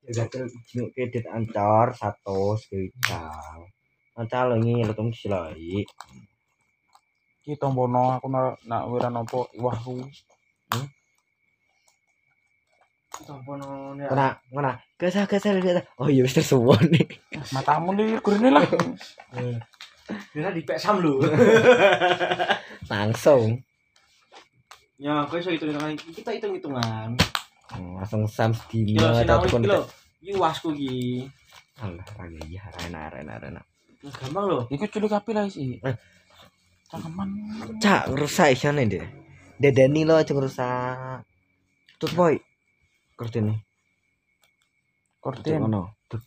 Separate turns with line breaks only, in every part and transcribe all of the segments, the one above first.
Iya.
Gatel juk kredit ancor 100 kuwi jang. Ancal lho ngi lho tunggu silai.
Ki tombono aku nak nak wira nopo Hmm? wahku.
Tompono
Ngena ngena kesah kesah lihat. Oh iya wis tersuwon nih.
Matamu li gurine lah.
Eh. Dina dipek sam lho.
Langsung
Ya, aku iso hitung-hitungan. Kita hitung-hitungan.
Hmm, langsung sam
Yo
Iya,
sinau
sedino atau
iki
kon.
lho. Iki wasku iki.
Alah rene iya rena rena rena.
Nah, Gampang lho.
Iku culik api lah isi.
Eh.
Taman.
Cak rusak isane deh. Dedeni lo aja rusak. Tut boy. Kertine.
Kortin.
Ngono. Tut.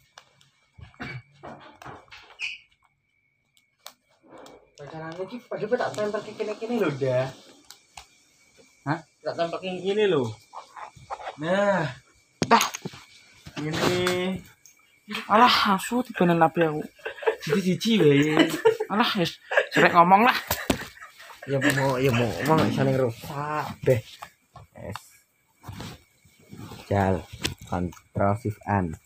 Rencananya iki padahal tak tempel ke kene-kene lho, dah.
Hah?
Tak tempel ke kene lho. Nah.
Dah.
Ini
Alah, asu tibanen nabi aku.
siji-siji wae.
Alah, wis sering ngomong lah.
Ya mau ya mau emang saling rusak beh. Es. Jal. Kontrol shift an.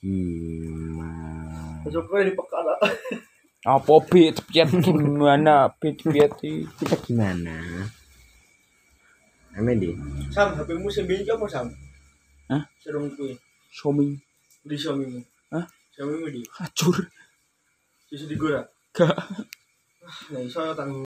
Gimana?
Coba di pekal lah.
Apa bi tepian gimana bi tepian di.
Kita gimana? Amin di.
Sam, HP-mu sing mbek iki apa, Sam?
Hah?
Serung kuwi.
Somi
Di Xiaomi-mu.
Hah?
Xiaomi-mu di.
hancur.
Sisi di gora.
Gak.
Nah, iso tanggung